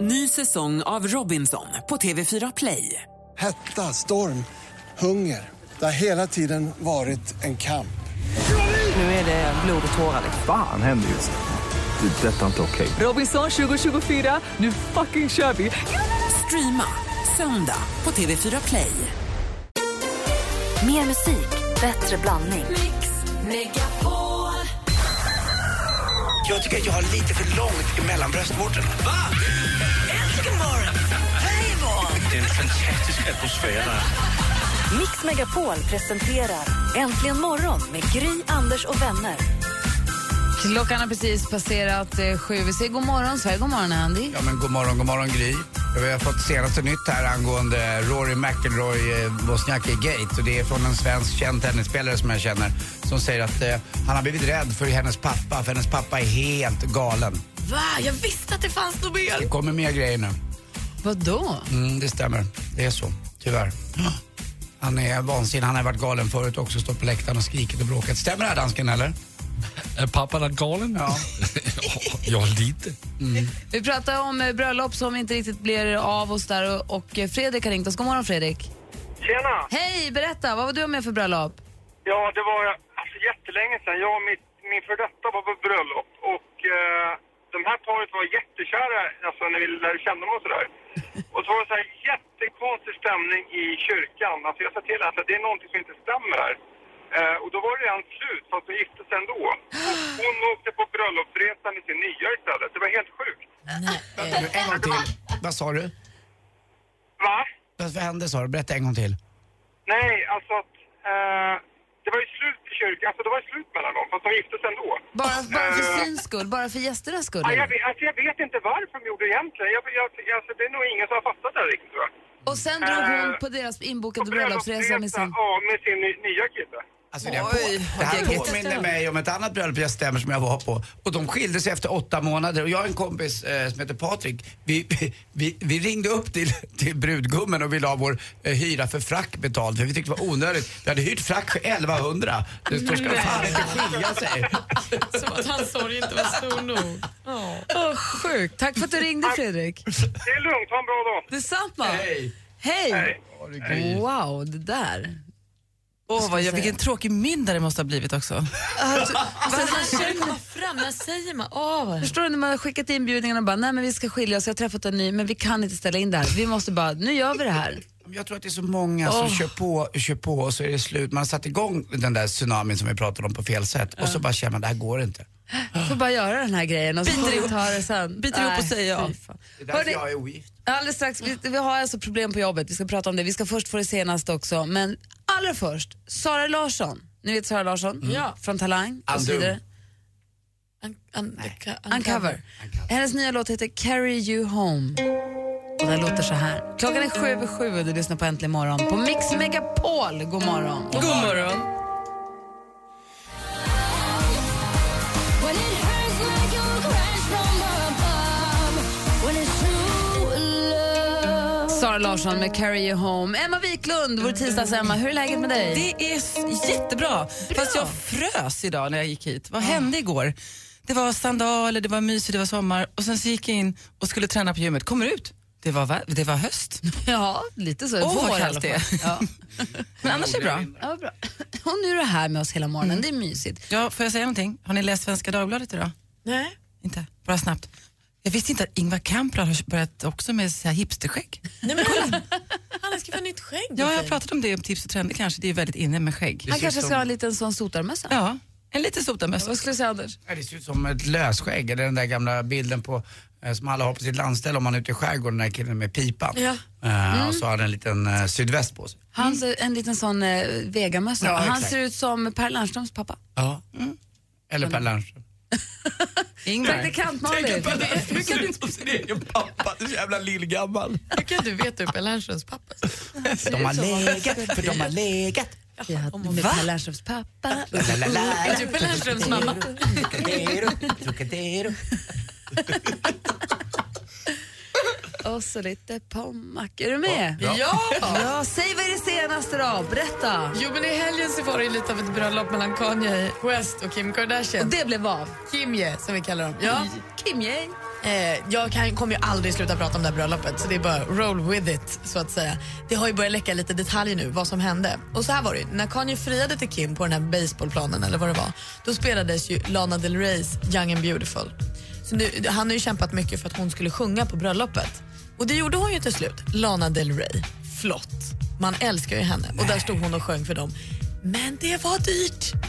Ny säsong av Robinson på TV4 Play. Hetta, storm, hunger. Det har hela tiden varit en kamp. Nu är det blod och tårar. Fan händer just nu. Det. är Detta är inte okej. Robinson 2024, nu fucking kör vi! Streama söndag på TV4 Play. Mer musik, bättre blandning. Jag tycker att jag har lite för långt mellan bröstvårtorna. Va? Äntligen morgon! Hej Det är en fantastisk atmosfär här. Mix Megapol presenterar Äntligen morgon med Gry, Anders och vänner. Klockan har precis passerat eh, sju. Vi säger god morgon, Sverige. God morgon, Andy. Ja, men god morgon, god morgon Gry. Vi har fått senaste nytt här angående Rory McIlroy eh, Wozniacki Gate. Och det är från en svensk känd tennisspelare som jag känner som säger att eh, han har blivit rädd för hennes pappa, för hennes pappa är helt galen. Va? Jag visste att det fanns något Det mer. kommer mer grejer nu. Vadå? Mm, det stämmer. Det är så, tyvärr. Han är vansinnig. Han har varit galen förut också, stått på läktaren och skrikit och bråkat. Stämmer det här dansken eller? Är pappan galen? Ja. ja, lite. Vi pratar om eh, bröllop som inte riktigt blir av oss där och, och eh, Fredrik har ringt oss. God morgon, Fredrik. Tjena! Hej, berätta. Vad var du med för bröllop? Ja, det var alltså, jättelänge sedan. Jag och mitt, min för detta var på bröllop och eh, de här paret var jättekära alltså, när vi lärde känna dem och sådär. Och så var det så här jättekonstig stämning i kyrkan. Alltså jag sa till henne att det är någonting som inte stämmer här. Eh, och då var det redan slut, fast de gifte sig ändå. Och hon åkte på bröllopsresan i sin nya istället. Det var helt sjukt. Nu, en gång till. Vad sa du? Va? Vad vad hände sa du? Berätta en gång till. Nej, alltså att eh, det var ju slut i kyrkan. Alltså det var ju slut mellan dem, fast de gifte sig ändå. Bara, bara för Eh, syns skull? Bara för gästernas skull? Ja, jag, eller? vet, alltså, jag vet inte varför de gjorde det egentligen. Jag, jag, alltså, det är nog ingen som har fattat det här riktigt tror jag. Och sen drog hon på deras Och inbokade bröllopsresa med sin... Ja, alltså med sin ny, nya kille. Alltså, det, här Oj, på, det här vilket påminner stöd. mig om ett annat bröllop jag stämmer som jag var på. Och de skilde sig efter åtta månader och jag och en kompis eh, som heter Patrik, vi, vi, vi ringde upp till, till brudgummen och ville ha vår eh, hyra för frack betald för vi tyckte det var onödigt. Vi hade hyrt frack för 1100. Det står ska fan inte skilja sig. Som att hans sorg inte var stor nog. Åh, sjukt. Tack för att du ringde, Fredrik. Det är lugnt, ha en bra dag. Detsamma. Hej! Hej. Hej. Wow, det där. Åh, vad jag, säga. vilken tråkig middag det måste ha blivit också. Alltså, när ska det komma fram? När säger man? Åh, Förstår du när man har skickat inbjudningarna och bara, nej men vi ska skilja oss, jag har träffat en ny, men vi kan inte ställa in det här. Vi måste bara, nu gör vi det här. Jag tror att det är så många som Åh. kör på, kör på och så är det slut. Man har satt igång den där tsunamin som vi pratade om på fel sätt och så bara känner man det här går inte. får bara göra den här grejen och så Biter får vi ihop. ta det sen. Biter ihop och Nej, säger ja. fy fan. Det är därför Hörni, jag är ogift. alldeles strax, vi, vi har alltså problem på jobbet, vi ska prata om det. Vi ska först få det senaste också, men allra först, Sara Larsson. Ni vet Sara Larsson? Ja. Från Talang och så Undo. vidare. un- un- unco- Uncover. Hennes nya låt heter Carry You Home. Och den låter så här. Klockan är sju över sju och du lyssnar på Äntligen Morgon på Mix Megapol. God morgon. God morgon. Sara Larsson med Carry You Home. Emma Wiklund, vår tisdags-Emma. Hur är läget med dig? Det är s- jättebra. Fast jag frös idag när jag gick hit. Vad hände Ah. igår? Det var sandaler, det var mysigt, det var sommar och sen så gick jag in och skulle träna på gymmet. Kommer ut, det var, va- det var höst. Ja, lite så. Åh, vad Vår i alla kallt det är. fall. Ja. Men annars är det bra. Mm. Ja, vad bra. Och nu är du här med oss hela morgonen. Det är mysigt. Ja, får jag säga någonting? Har ni läst Svenska Dagbladet idag? Nej. Inte? Bara snabbt. Jag visste inte att Ingvar Kamprad har börjat också med så här hipsterskägg. Nej men kolla, han ska få nytt skägg. Ja, jag har pratat om det om tips och trender kanske. Det är väldigt inne med skägg. Han kanske ska ha en liten sån sotarmössa. Ja, en liten sotarmössa. Vad skulle du säga, Anders? Ja, Det ser ut som ett lösskägg, eller den där gamla bilden på, eh, som alla har på sitt landställe om man är ute i skärgården, den där killen med pipan. Ja. Mm. Eh, Och så har den en liten eh, sydväst på sig. Mm. Han ser en liten sån eh, vegamössa. Ja, Han exakt. ser ut som Per Lernströms pappa. Ja. Mm. Eller Per Lernström. Ingvar. Praktikant Malin. Hur kan du... sin egen pappa, du är så jävla lillgammal. Hur kan du veta hur Per Lernströms pappa ser ut? De har legat, för de har legat. Vi har haft med Per Lernströms pappa. La, la, la. Är du Per Lernströms mamma? Trocadero, Trocadero. Och så lite pommack. Är du med? Ja. Ja, säg vad är det senaste då? Berätta. Jo men i helgen så var det ju lite av ett bröllop mellan Kanye West och Kim Och Kardashian. det blev av. Kimye som vi kallar dem. Ja. Kim Ye. Mm. Eh, jag kan, kommer ju aldrig sluta prata om det här bröllopet så det är bara roll with it så att säga. Det har ju börjat läcka lite detaljer nu vad som hände. Och så här var det ju, när Kanye friade till Kim på den här baseballplanen eller vad det var, då spelades ju Lana Del Reys Young and beautiful. Så nu, han har ju kämpat mycket för att hon skulle sjunga på bröllopet. Och det gjorde hon ju till slut, Lana Del Rey. Flott. Man älskar ju henne och där stod hon och sjöng för dem. Men det var dyrt.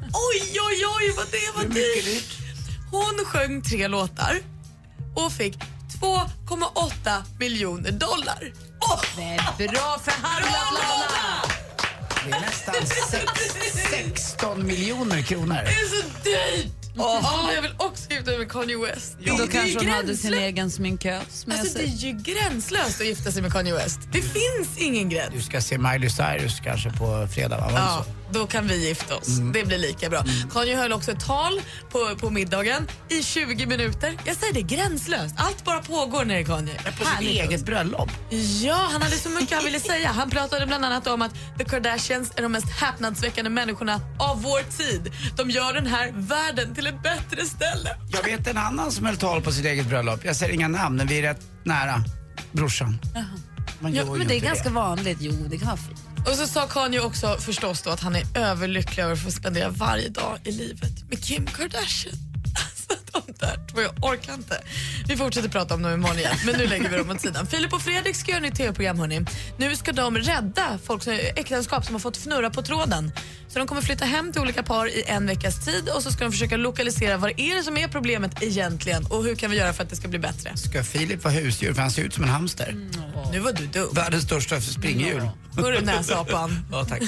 oj, oj, oj vad det var dyrt. Hon sjöng tre låtar och fick 2,8 miljoner dollar. Oh! Bra förhandlat, Lana! Det är nästan sex, 16 miljoner kronor. Det är så dyrt! Åh, jag vill också gifta mig med Kanye West. Då det är ju kanske hon hade sin gränslöst. egen sminkös med Alltså, det sig. är ju gränslöst att gifta sig med Kanye West. Det finns ingen gräns. Du ska se Miley Cyrus kanske på fredag, va? Var det Ja, så? då kan vi gifta oss. Mm. Det blir lika bra. Mm. Kanye höll också ett tal på, på middagen i 20 minuter. Jag säger det, gränslöst. Allt bara pågår när det är Kanye. På sitt Härligt. eget bröllop. Ja, han hade så mycket han ville säga. Han pratade bland annat om att The Kardashians är de mest häpnadsväckande människorna av vår tid. De gör den här världen till ett bättre ställe. Jag vet en annan som höll tal på sitt eget bröllop. Jag säger inga namn, men vi är rätt nära brorsan. Man Ja, gör ju men det är inte ganska vanligt. Jo, det kan vara fint. Och så sa Kanye också förstås då att han är överlycklig över att få spendera varje dag i livet med Kim Kardashian. Alltså de där två, jag orkar inte. Vi fortsätter prata om dem imorgon igen, men nu lägger vi dem åt sidan. Filip och Fredrik ska göra ett nytt tv-program hörni. Nu ska de rädda folk som, äktenskap som har fått fnurra på tråden. Så de kommer flytta hem till olika par i en veckas tid och så ska de försöka lokalisera vad är det som är problemet egentligen och hur kan vi göra för att det ska bli bättre. Ska Filip vara husdjur? För han ser ut som en hamster. Mm, Nu var du dum. Världens största springhjul. Hörru näsapan. Ja, tack.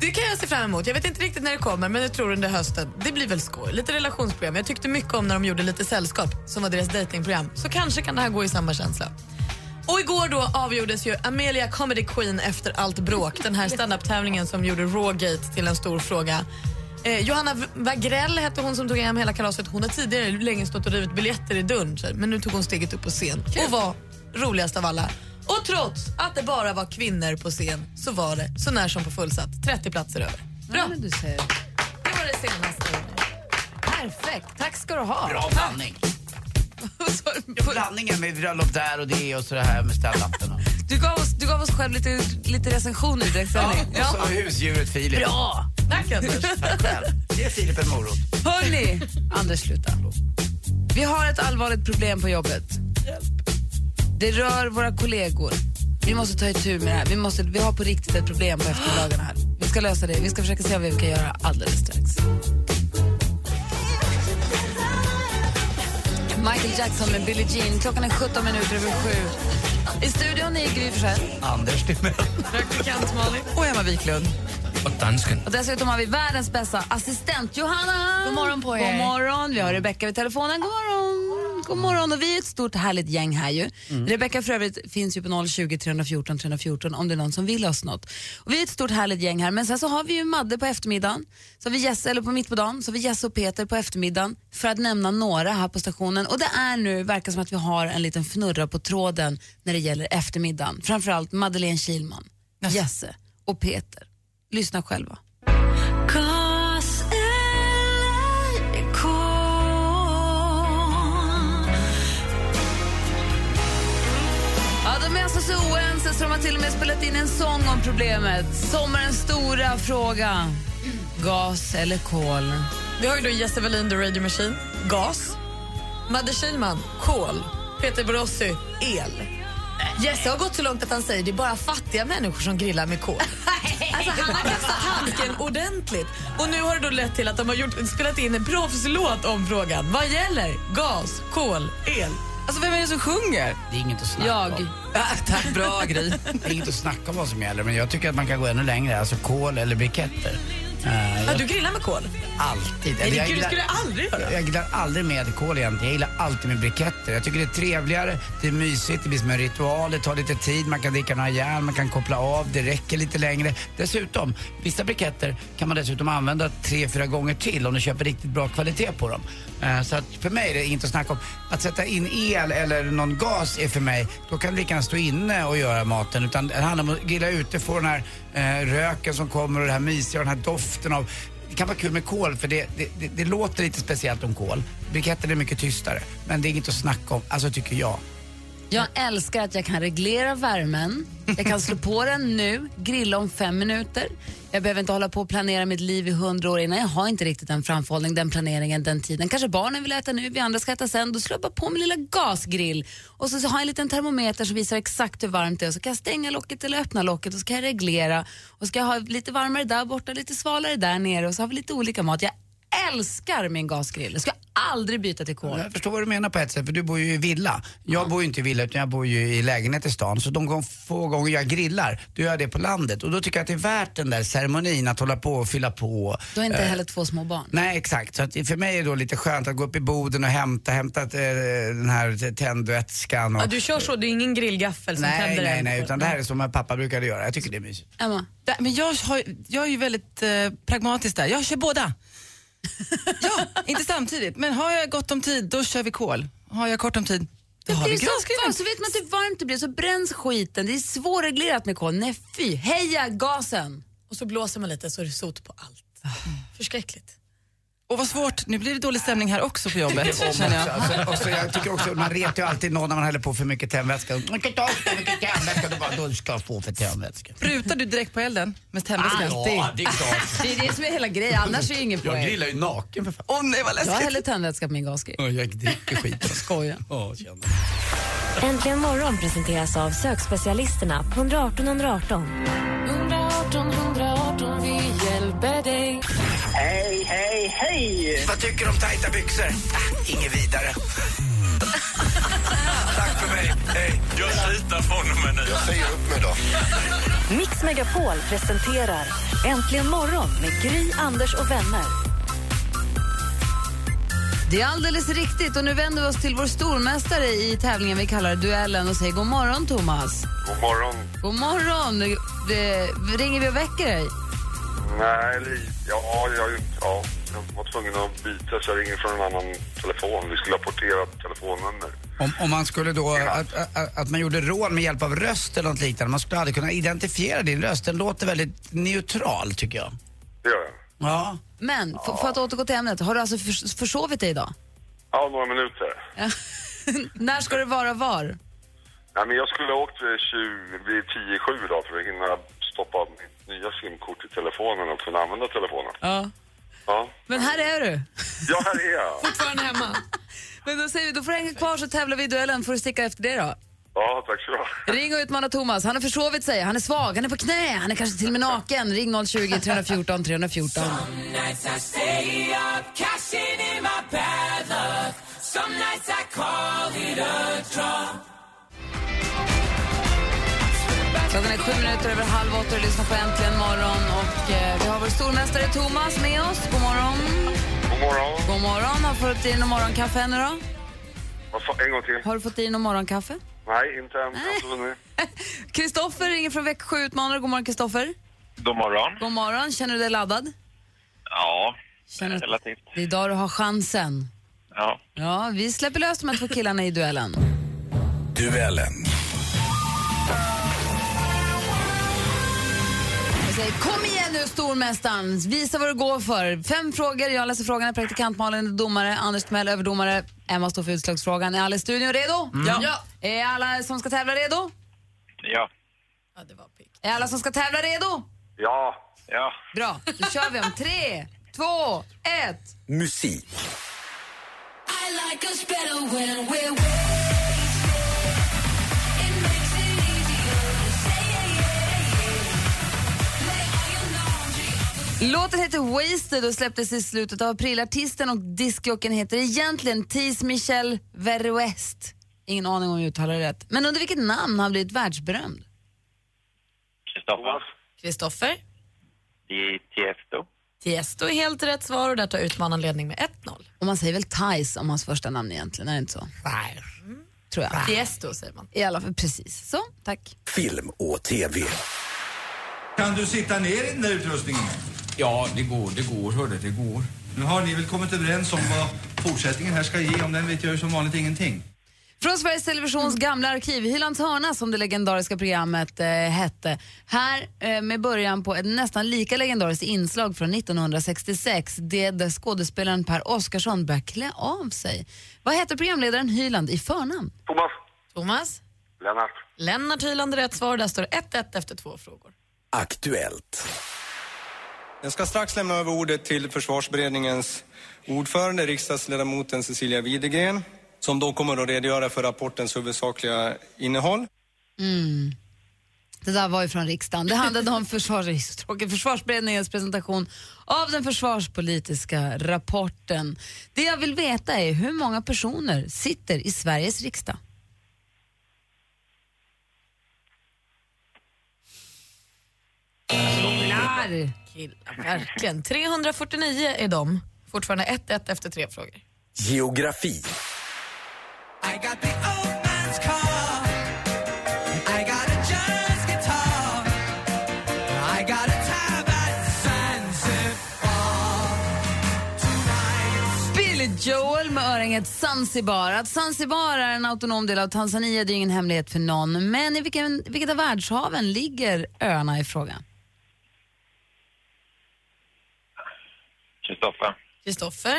Det kan jag se fram emot. Jag vet inte riktigt när det kommer, men jag tror under hösten. Det blir väl skoj. Lite relationsprogram. Jag tyckte mycket om när de gjorde lite sällskap, som var deras datingprogram. Så kanske kan det här gå i samma känsla. Och igår då avgjordes ju Amelia Comedy Queen efter allt bråk. Den här standup-tävlingen som gjorde Rawgate till en stor fråga. Eh, Johanna V- Wagrell hette hon som tog hem hela kalaset. Hon har tidigare länge stått och rivit biljetter i dörren, så här, men nu tog hon steget upp på scen och var roligast av alla. Och trots att det bara var kvinnor på scen så var det så när som på fullsatt. 30 platser över. Bra. Ja, men du ser. Det var det senaste. Perfekt. Tack ska du ha. Bra blandning. Ja, blandningen med bröllop där och det och så det här med standupen. Du gav oss, du gav oss själv lite, lite recensioner i direktsändning. Och så husdjuret Filip. Bra! Tack, Anders. Tack själv. Ge Filip en morot. Hörni, Anders sluta. Vi har ett allvarligt problem på jobbet. Det rör våra kollegor. Vi måste ta itu med det här. Vi, måste, vi har på riktigt ett problem på eftermiddagarna här. Vi ska lösa det. Vi ska försöka se vad vi kan göra alldeles strax. Michael Jackson med Billie Jean. Klockan är 17 minuter över sju. I studion är Gry Forssell. Anders Timell. Praktikant Malin. Och Emma Wiklund. Och dansken. Och dessutom har vi världens bästa assistent Johanna. God morgon på er. God morgon. Vi har Rebecka vid telefonen. God morgon. God morgon. Och vi är ett stort härligt gäng här ju. Rebecka för övrigt finns ju på 020 314 314 om det är någon som vill oss något. Och vi är ett stort härligt gäng här. Men sen så har vi ju Madde på eftermiddagen. Så har vi Jesse, eller på mitt på dagen. Så har vi Jesse och Peter på eftermiddagen. För att nämna några här på stationen. Och det är nu, verkar som att vi har en liten fnurra på tråden när det gäller eftermiddagen. Framförallt Madeleine Kilman, Jesse och Peter. Lyssna själva. Ja, de är alltså så oense så de har till och med spelat in en sång om problemet. Sommarens stora fråga. Gas eller kol? Vi har ju då Jesse Wallin, The Radio Machine, gas. Madde Kihlman, kol. Peter Borossi, el. Jesse har gått så långt att han säger det är bara fattiga människor som grillar med kol. Alltså han har kastat handsken ordentligt. Och nu har det då lett till att de har gjort, spelat in en proffslåt om frågan. Vad gäller gas, kol, el? Alltså vem är det som sjunger? Det är inget att snacka Jag. om. Ja, tack, bra Gry. Det är inget att snacka om vad som gäller, men jag tycker att man kan gå ännu längre. Alltså kol eller briketter. Eh, Ja, jag, du grillar med kol? alltid. Nej, jag, gud, det gillar, skulle jag aldrig göra. jag gillar aldrig med kol egentligen. Jag gillar alltid med briketter. Jag tycker det är trevligare, det är mysigt, det blir som en ritual, det tar lite tid, man kan dricka några järn, man kan koppla av, det räcker lite längre. Dessutom, vissa briketter kan man dessutom använda tre, fyra gånger till om du köper riktigt bra kvalitet på dem. Eh, Så att för mig är det inget att snacka om. Att sätta in el eller någon gas är för mig, då kan det lika gärna stå inne och göra maten. Utan det handlar om att grilla ute, få den här eh, röken som kommer och det här mysiga och den här doften av det kan vara kul med kol för det, det, det, det låter lite speciellt om kol. Briketten är mycket tystare. Men det är inget att snacka om, alltså tycker jag. Jag älskar att jag kan reglera värmen. Jag kan slå på den nu, grilla om fem minuter. Jag behöver inte hålla på och planera mitt liv i hundra år innan. Jag har inte riktigt den framförhållningen, den planeringen, den tiden. Kanske barnen vill äta nu, vi andra ska äta sen. Då slår jag bara på min lilla gasgrill och så så har jag en liten termometer som visar exakt hur varmt det är. Så kan jag stänga locket eller öppna locket och så kan jag reglera. Och så kan jag ha lite varmare där borta, lite svalare där nere och så har vi lite olika mat. Jag älskar min gasgrill. Jag ska aldrig byta till kol. Jag förstår vad du menar på ett sätt, för du bor ju i villa. Jag bor ju inte i villa utan jag bor ju i lägenhet i stan. Så de gång- få gånger jag grillar, då gör jag det på landet. Och då tycker jag att det är värt den där ceremonin att hålla på och fylla på. Du har inte Eh, heller två små barn. Nej, exakt. Så att det- för mig är det då lite skönt att gå upp i boden och hämta, hämta eh, den här tändvätskan. Och, Ja, du kör så, det är ingen grillgaffel som nej, tänder nej, eld. nej, utan det här är som min pappa brukade göra. Jag tycker det är mysigt. Emma? men jag, har, jag är ju väldigt eh, pragmatisk där. Jag kör båda. ja, inte Alltså- samtidigt. Men har jag gott om tid, då kör vi kol. Har jag kort om tid, då har Det vi är så gasgrillen. farligt, så vet man inte hur varmt det blir så bränns skiten. Det är svårreglerat med kol. Nej fy, heja gasen! Och så blåser man lite så är det sot på allt. Förskräckligt. Och vad svårt, nu blir det dålig stämning här också på Om jobbet. också, känner jag. alltså, och så jag tycker också, man retar ju alltid någon när man häller på för mycket tändvätska. Man kan ta för mycket tändvätska, då bara, då ska jag få för tändvätska. Sprutar du direkt på elden med tändvätskan? Ah, Ja, det är klart. Det är det som är hela grejen, annars är det ingen Jag poäng. grillar ju naken för fan. Åh nej vad Jag har läskigt. hellre tändvätska på min gasgrill. Och jag dricker skit. Skoja. Ja, känner. Äntligen morgon presenteras av sökspecialisterna på 118 118. Hej, hej, hej! Vad tycker du om tajta byxor? Ah, inget vidare. Tack för mig. Hej. Jag slutar från och med nu. Jag säger upp mig då. Mix Megapol presenterar Äntligen morgon med Gry, Anders och vänner. Det är alldeles riktigt och nu vänder vi oss till vår stormästare i tävlingen vi kallar duellen och säger god morgon Thomas. God morgon. God morgon! Nu, eh, ringer vi och väcker dig? Nej, eller- ja, jag, ja, jag var tvungen att byta så jag ringer från en annan telefon. Vi skulle ha porterat telefonnummer. Om, om man skulle då, att, att, att man gjorde rån med hjälp av röst eller något liknande, man skulle aldrig kunna identifiera din röst. Den låter väldigt neutral tycker jag. Det gör jag. Ja. Men för, för att återgå till ämnet, har du alltså förs- försovit dig idag? Ja, några minuter. När ska du vara var? Nej, men jag skulle ha åkt vid, 20, vid 10-7 idag för att hinna stoppa mitt nya simkort i telefonen och kunna använda telefonen. Ja. Ja, Men här är du. ja här är jag. Fortfarande hemma. Men då säger vi, då får du hänga kvar så tävlar vi i duellen. Får du sticka efter det då? Ja, tack så du ha. Ring och utmana Thomas. Han har försovit sig, han är svag, han är på knä, han är kanske till och med naken. Ring 020 314 314. Klockan är sju minuter över halv åtta och du lyssnar på Äntligen morgon. Och eh, vi har vår stormästare Thomas med oss. God morgon. God morgon. God morgon. Har du fått i någon morgonkaffe ännu då? Vad fan, en gång till. Har du fått i någon morgonkaffe? Nej, inte än. Alltså, Jag har inte hunnit. Kristoffer ringer från Växjö utmanare. God morgon Kristoffer. God morgon. God morgon. Känner du dig laddad? Ja, Känner du att relativt. det är idag du har chansen? Ja. Ja, vi släpper lös de här två killarna i duellen. Duellen. Jag säger, kom igen nu stormästaren, visa vad du går för. Fem frågor, jag läser frågorna, praktikant Malin är domare, Anders Timell överdomare, Emma står för utslagsfrågan. Är alla i studion redo? Mm. Ja. Är alla som ska tävla redo? Ja. ja, det var piggt. Är alla som ska tävla redo? Ja. Ja. Bra, då kör vi om tre, två, ett. Musik. Låten heter Wasted och släpptes i slutet av april. Artisten och discjockeyn heter egentligen Tis Michel Verwest. Ingen aning om jag uttalar det rätt. Men under vilket namn har han blivit världsberömd? Kristoffer. Kristoffer, I Tiesto. Tiesto är helt rätt svar och där tar utmanaren ledning med 1-0. Och man säger väl Tis om hans första namn egentligen, är det inte så? Nej. Tror jag. Tiesto säger man. I alla fall, precis. Så, tack. Film och TV. Kan du sitta ner i den där utrustningen? Ja, det går, det går, hörde, det går. Nu har ni väl kommit överens om vad fortsättningen här ska ge. Om den vet jag ju som vanligt ingenting. Från Sveriges Mm. Televisions gamla arkiv, Hylands hörna som det legendariska programmet eh, hette. Här eh, med början på ett nästan lika legendariskt inslag från 1966 det där skådespelaren Per Oscarsson börjar klä av sig. Vad hette programledaren Hyland i förnamn? Thomas. Thomas? Lennart. Lennart Hyland är rätt svar. Där står 1-1 efter två frågor. Aktuellt. Jag ska strax lämna över ordet till försvarsberedningens ordförande, riksdagsledamoten Cecilia Widegren, som då kommer att redogöra för rapportens huvudsakliga innehåll. Mm. Det där var ju från riksdagen. Det handlade om försvars, tråkigt, försvarsberedningens presentation av den försvarspolitiska rapporten. Det jag vill veta är hur många personer sitter i Sveriges riksdag? Killar! Killar, verkligen. 349 är de. Fortfarande 1-1 efter tre frågor. Geografi. Billy Joel med öringet Zanzibar. Att Zanzibar är en autonom del av Tanzania det är ingen hemlighet för någon. Men i vilken, vilket av världshaven ligger öarna i fråga? Kristoffer, Kristoffer,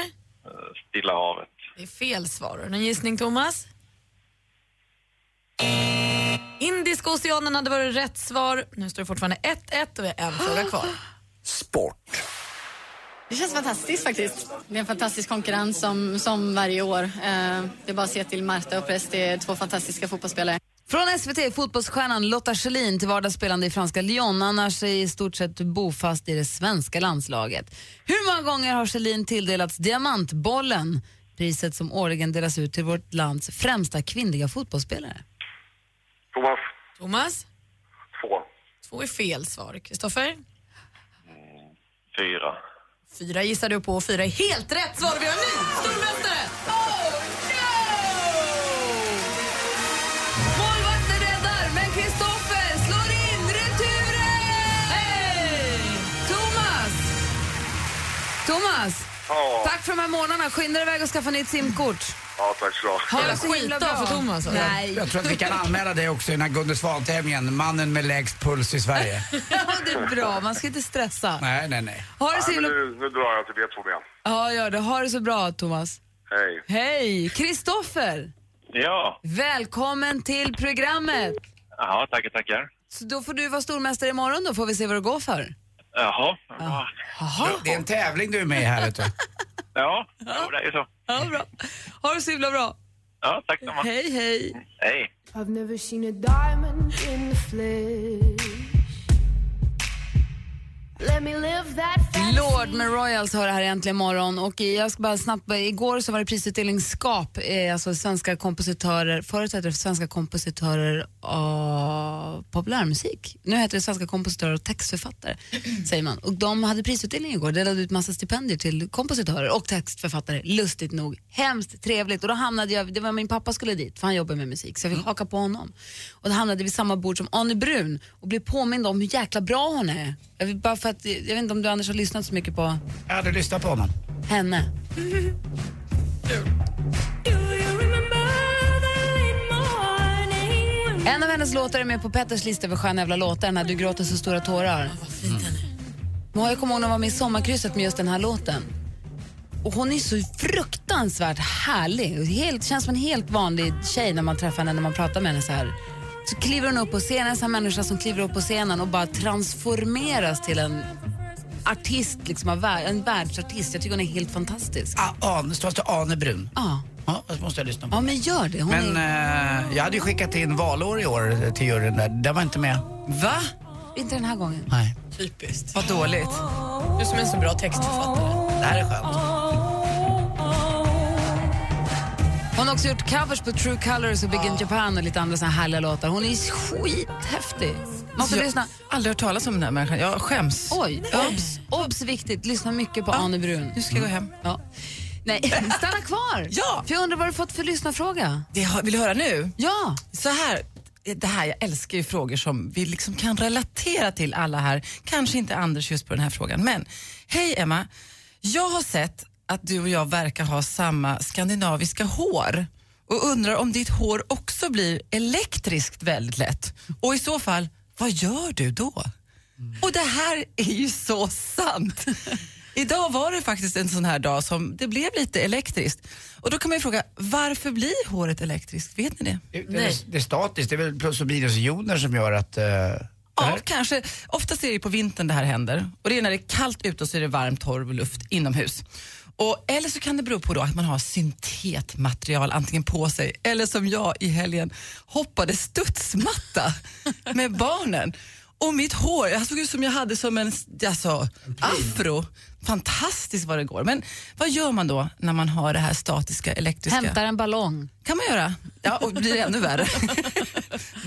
Stilla havet. det är fel svar. Har du Någon gissning, Thomas? Indiska oceanen hade varit rätt svar. Nu står det fortfarande 1-1 och vi har en fråga kvar. Sport. Det känns fantastiskt faktiskt. Det är en fantastisk konkurrens som, som varje år. Eh, det är bara att se till Marta och Press, det är två fantastiska fotbollsspelare. Från SVT, fotbollsstjärnan Lotta Schelin till vardags spelande i franska Lyon, annars är i stort sett bofast i det svenska landslaget. Hur många gånger har Schelin tilldelats Diamantbollen, priset som årligen delas ut till vårt lands främsta kvinnliga fotbollsspelare? Thomas. Thomas? Två. Två är fel svar. Kristoffer? Fyra. Fyra gissar du på och fyra är helt rätt svar. Vi har en ny stormästare! Oh, Målvakten räddar, men Kristoffer slår in returen! Hey! Thomas! Thomas! Ja. Tack för de här månaderna. Skynda dig iväg och skaffa nytt simkort. Ja, tack så Ha det så himla bra. Nej. Jag tror att vi kan anmäla dig också i den här Gunde Svan-tävlingen, mannen med lägst puls i Sverige. Ja, det är bra. Man ska inte stressa. nej, nej, nej. Ha det så Nej, men himla... nu, nu drar jag till B2 ben. Ja, gör det. Ha det så bra, Thomas. Hej. Hej! Kristoffer! Ja. Välkommen till programmet! Jaha, tackar, tackar. Så då får du vara stormästare imorgon då, får vi se vad det går för. Jaha. Det är en tävling du är med i här, vet du. Ja, jo, det är ju så. Ja, bra. Ha det så himla bra. Ja, tack så mycket. Hej, hej. Hej. I've never seen a diamond in the flesh. Let me live that fantasy. Lord med Royals hör det här äntligen imorgon och jag ska bara snabbt, igår så var det prisutdelning SKAP, eh, alltså svenska kompositörer, förut hette det svenska kompositörer av populärmusik. Nu heter det svenska kompositörer och textförfattare, säger man. Och de hade prisutdelning igår, delade ut massa stipendier till kompositörer och textförfattare, lustigt nog. Hemskt trevligt och då hamnade jag, det var min pappa skulle dit för han jobbar med musik så jag fick haka på honom. Och då hamnade vi vid samma bord som Anne Brun och blev påmind om hur jäkla bra hon är. Jag, vill bara för att, jag vet inte om du Anders har lyssnat så mycket på Jag hade lyssnat på honom. henne. En av hennes låtar är med på Petters lista över sköna jävla låtar, den här Du gråter så stora tårar. Men jag kommer ihåg när hon var med i Sommarkrysset med just den här låten. Och hon är så fruktansvärt härlig. Och Helt, känns som en helt vanlig tjej när man träffar henne, när man pratar med henne så här. Så kliver hon upp på scenen, en sån här människa som kliver upp på scenen och bara transformeras till en artist, liksom av vär- en världsartist. Jag tycker hon är helt fantastisk. Ah, An, stavas det Ane Brun? Ja. Ja, det måste jag lyssna på. Ja, men gör det. Hon Men är... eh, jag hade ju skickat in valår i år till juryn där. Den var inte med. Va? Inte den här gången. Nej. Typiskt. Vad dåligt. Du som är så bra textförfattare. Det här är skönt. Hon har också gjort covers på True Colors och Big in Japan och lite andra såna härliga låtar. Hon är skithäftig. Man får jag lyssna. har aldrig hört talas om den här människan. Jag skäms. Oj, obs, obs viktigt. Lyssna mycket på Anne Brun. Mm. Nu ska jag gå hem. Ja. Nej, stanna kvar. Ja. Mm. För jag undrar vad du fått för lyssnarfråga. Det har, vill du höra nu? Ja. Så här, det här, jag älskar ju frågor som vi liksom kan relatera till alla här. Kanske inte Anders just på den här frågan, men hej Emma. Jag har sett att du och jag verkar ha samma skandinaviska hår och undrar om ditt hår också blir elektriskt väldigt lätt. Och i så fall, vad gör du då? Och det här är ju så sant. Idag var det faktiskt en sån här dag som det blev lite elektriskt. Och då kan man ju fråga, varför blir håret elektriskt? Vet ni det? Det, är, det är statiskt, det är väl plus och minusioner som gör att... eh, Ja, kanske. Oftast är det ju på vintern det här händer. Och det är när det är kallt ute och så är det varm, torr luft inomhus. Och, eller så kan det bero på då att man har syntetmaterial antingen på sig eller som jag i helgen hoppade studsmatta med barnen. Och mitt hår, jag såg ut som jag hade som en alltså, afro. Fantastiskt vad det går. Men vad gör man då när man har det här statiska elektriska? Hämtar en ballong. kan man göra. Ja, och blir ännu värre.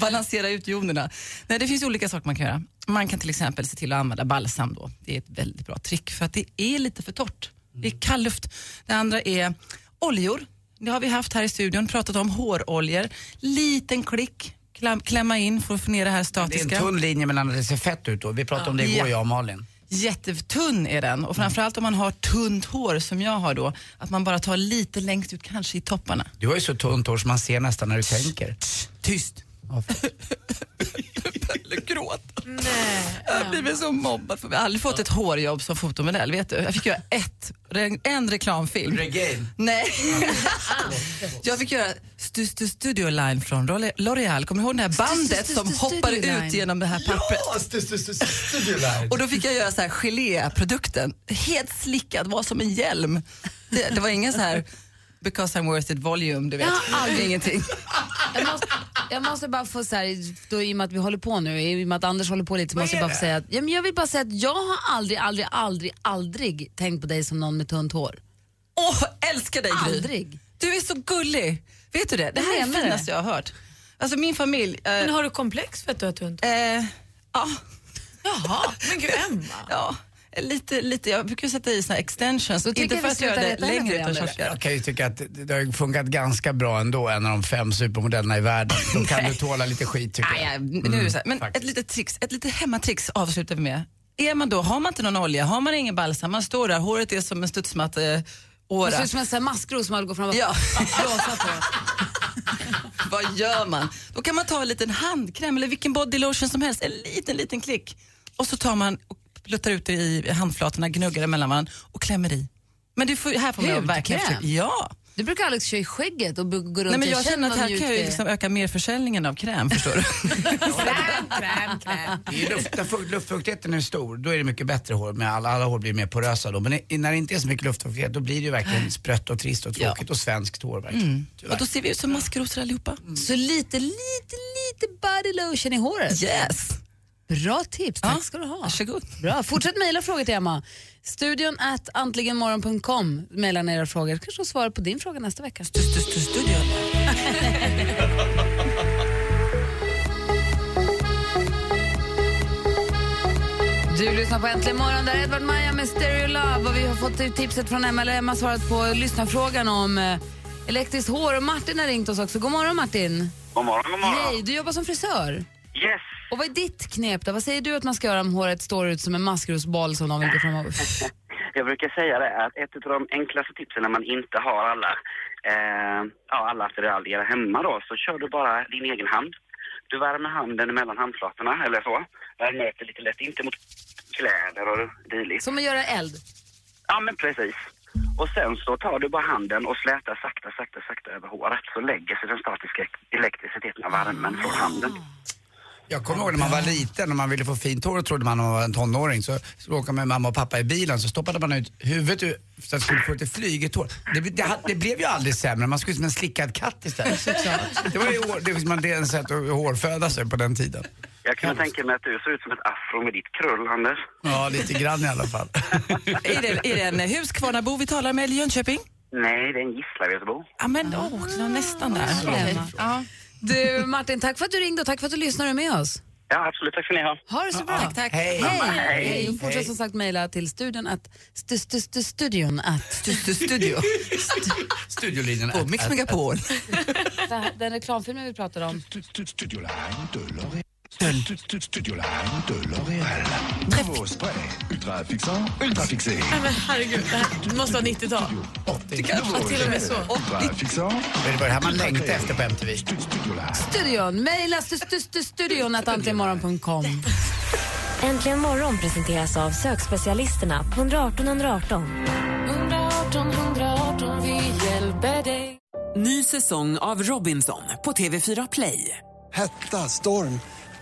Balansera ut jonerna. Nej, det finns olika saker man kan göra. Man kan till exempel se till att använda balsam då. Det är ett väldigt bra trick för att det är lite för torrt. Det är kall luft. Det andra är oljor. Det har vi haft här i studion, pratat om håroljor. Liten klick, klam, klämma in för att få ner det här Det är statiska. en tunn linje mellan att det ser fett ut då. Vi pratade om det igår, Ja. jag och Malin. Jättetunn är den och framförallt om man har tunt hår som jag har då, att man bara tar lite längst ut, kanske i topparna. Du har ju så tunt hår som man ser nästan när du tänker. Tyst! Jag har blivit så mobbad. För mig. Jag har aldrig fått ett hårjobb som fotomodell. Vet du? Jag fick göra ett, en reklamfilm. Regain. Nej. jag fick göra stu, stu, Studio Line från L'Oreal- L'Oreal. Kommer du ihåg det här bandet som hoppar ut genom det här pappret? Och då fick jag göra så här geléprodukten. Helt slickad, var som en hjälm. Det, det var ingen så här because I'm worth it volume, du vet. Jag har aldrig- Ingenting. Jag måste, jag måste bara få så här, då, i och med att vi håller på nu, i och med att Anders håller på lite, så Vad måste är jag bara det? få säga att, ja, men jag vill bara säga att jag har aldrig, aldrig, aldrig, aldrig tänkt på dig som någon med tunt hår. Åh, älskar dig Gry. Aldrig. Du är så gullig. Vet du det? Det här är det menar finaste jag har hört. Alltså min familj... Men har du komplex för att du har tunt eh, Ja. Jaha, men gud Emma. ja. Lite, lite, jag brukar sätta i såna här extensions. Då tänker Inte för vi att göra sluta det reta längre henne, utan Anders. för att göra Jag kan ju tycka att det har ju funkat ganska bra ändå, en av de fem supermodellerna i världen. Då kan du tåla lite skit tycker Nej, jag. nu är det så här. Mm, Men ett litet trix, ett litet hemmatrix avslutar vi med. Är man då, har man inte någon olja, har man ingen balsam, man står där, håret är som en studsmatte Det ser åra. ut som en sån här maskros som man går fram och Ja. blåsa på. Vad gör man? Då kan man ta en liten handkräm eller vilken body lotion som helst, en liten, liten klick. Och så tar man och pluttar ut det i handflatorna, gnuggar det mellan varandra och klämmer i. Men du får, här får man verkligen... Hudkräm? Ja. Du brukar Alex köra i skägget och bu- gå runt Nej, men och jag känner att vad här mjukt kan jag det ju är. liksom öka merförsäljningen av kräm, förstår du? Det är ju luft, när fukt- luftfuktigheten är stor, då är det mycket bättre hår. Med alla, alla hår blir mer porösa då. Men i- när det inte är så mycket luftfuktighet, då blir det ju verkligen sprött och trist och tråkigt och svenskt hår verkligen. Mm. Och då ser vi ut som maskrosor allihopa. Så lite, lite, lite body lotion i håret. Yes! Bra tips, tack ska du ha. Varsågod. Bra. Fortsätt mejla frågor till Emma. Studion at antligenmorgon.com. Mejla ner era frågor. Kanske hon svarar på din fråga nästa vecka. Du lyssnar på Äntligen morgon, där är Edvard Maja med Stereo Love. Och vi har fått tipset från Emma, eller Emma har svarat på lyssnarfrågan om eh, elektriskt hår. Och Martin har ringt oss också. God morgon Martin. God morgon, god morgon. Hej, du jobbar som frisör. Yes. Och vad är ditt knep då? Vad säger du att man ska göra om håret står ut som en maskrosboll som de vill gå fram och... Jag brukar säga det att ett av de enklaste tipsen när man inte har alla, eh, ja, alla attiraljer hemma då, så kör du bara din egen hand. Du värmer handen mellan handflatorna eller så. Värmer upp det lite lätt, inte mot kläder och dylikt. Som att göra eld. Ja, men precis. Och sen så tar du bara handen och slätar sakta, sakta, sakta över håret. Så lägger sig den statiska elektriciteten av värmen från handen. Jag kommer ihåg när man var liten och man ville få fint hår och trodde man var en tonåring så, så åkte man med mamma och pappa i bilen så stoppade man ut huvudet ur, så att det skulle få lite flygigt hår. Det, det, ha- det blev ju aldrig sämre, man skulle ut som en slickad katt istället. Det var ju hår- det, var- man, det är en sätt att hårföda sig på den tiden. Jag kan tänka mig att du ser ut som ett afro med ditt krull, Anders. Ja, lite grann i alla fall. är, det, är det en Huskvarnabo vi talar med eller Jönköping? Nej, det är en Gislavedsbo. Ja, men åh, det var nästan där. Emma. Du Martin, tack för att du ringde och tack för att du lyssnade med oss. Ja, absolut. Tack ska ni ha. Ha det så bra. tack. Hej. Hej. Hej. Och Fortsätt som sagt mejla till studion att... Stu, stu, stu, studion att... Stu, stu, studio. Studiolinjen. På Mix Megapol. Den reklamfilmen vi pratade om. Studio Line de L'Oréal. Nouveau spray, ultra fixant, ultra fixé. Nej, men herregud, det här måste vara 90-tal. Det kanske till och med så. Ultra fixant. Men det var det här man längtade efter på MTV. Studion, mejla stu, stu, stu, studion att antligenmorgon.com. Äntligen morgon presenteras av sökspecialisterna på 118 118. 118 118, vi hjälper dig. Ny säsong av Robinson på TV4 Play. Hetta, storm,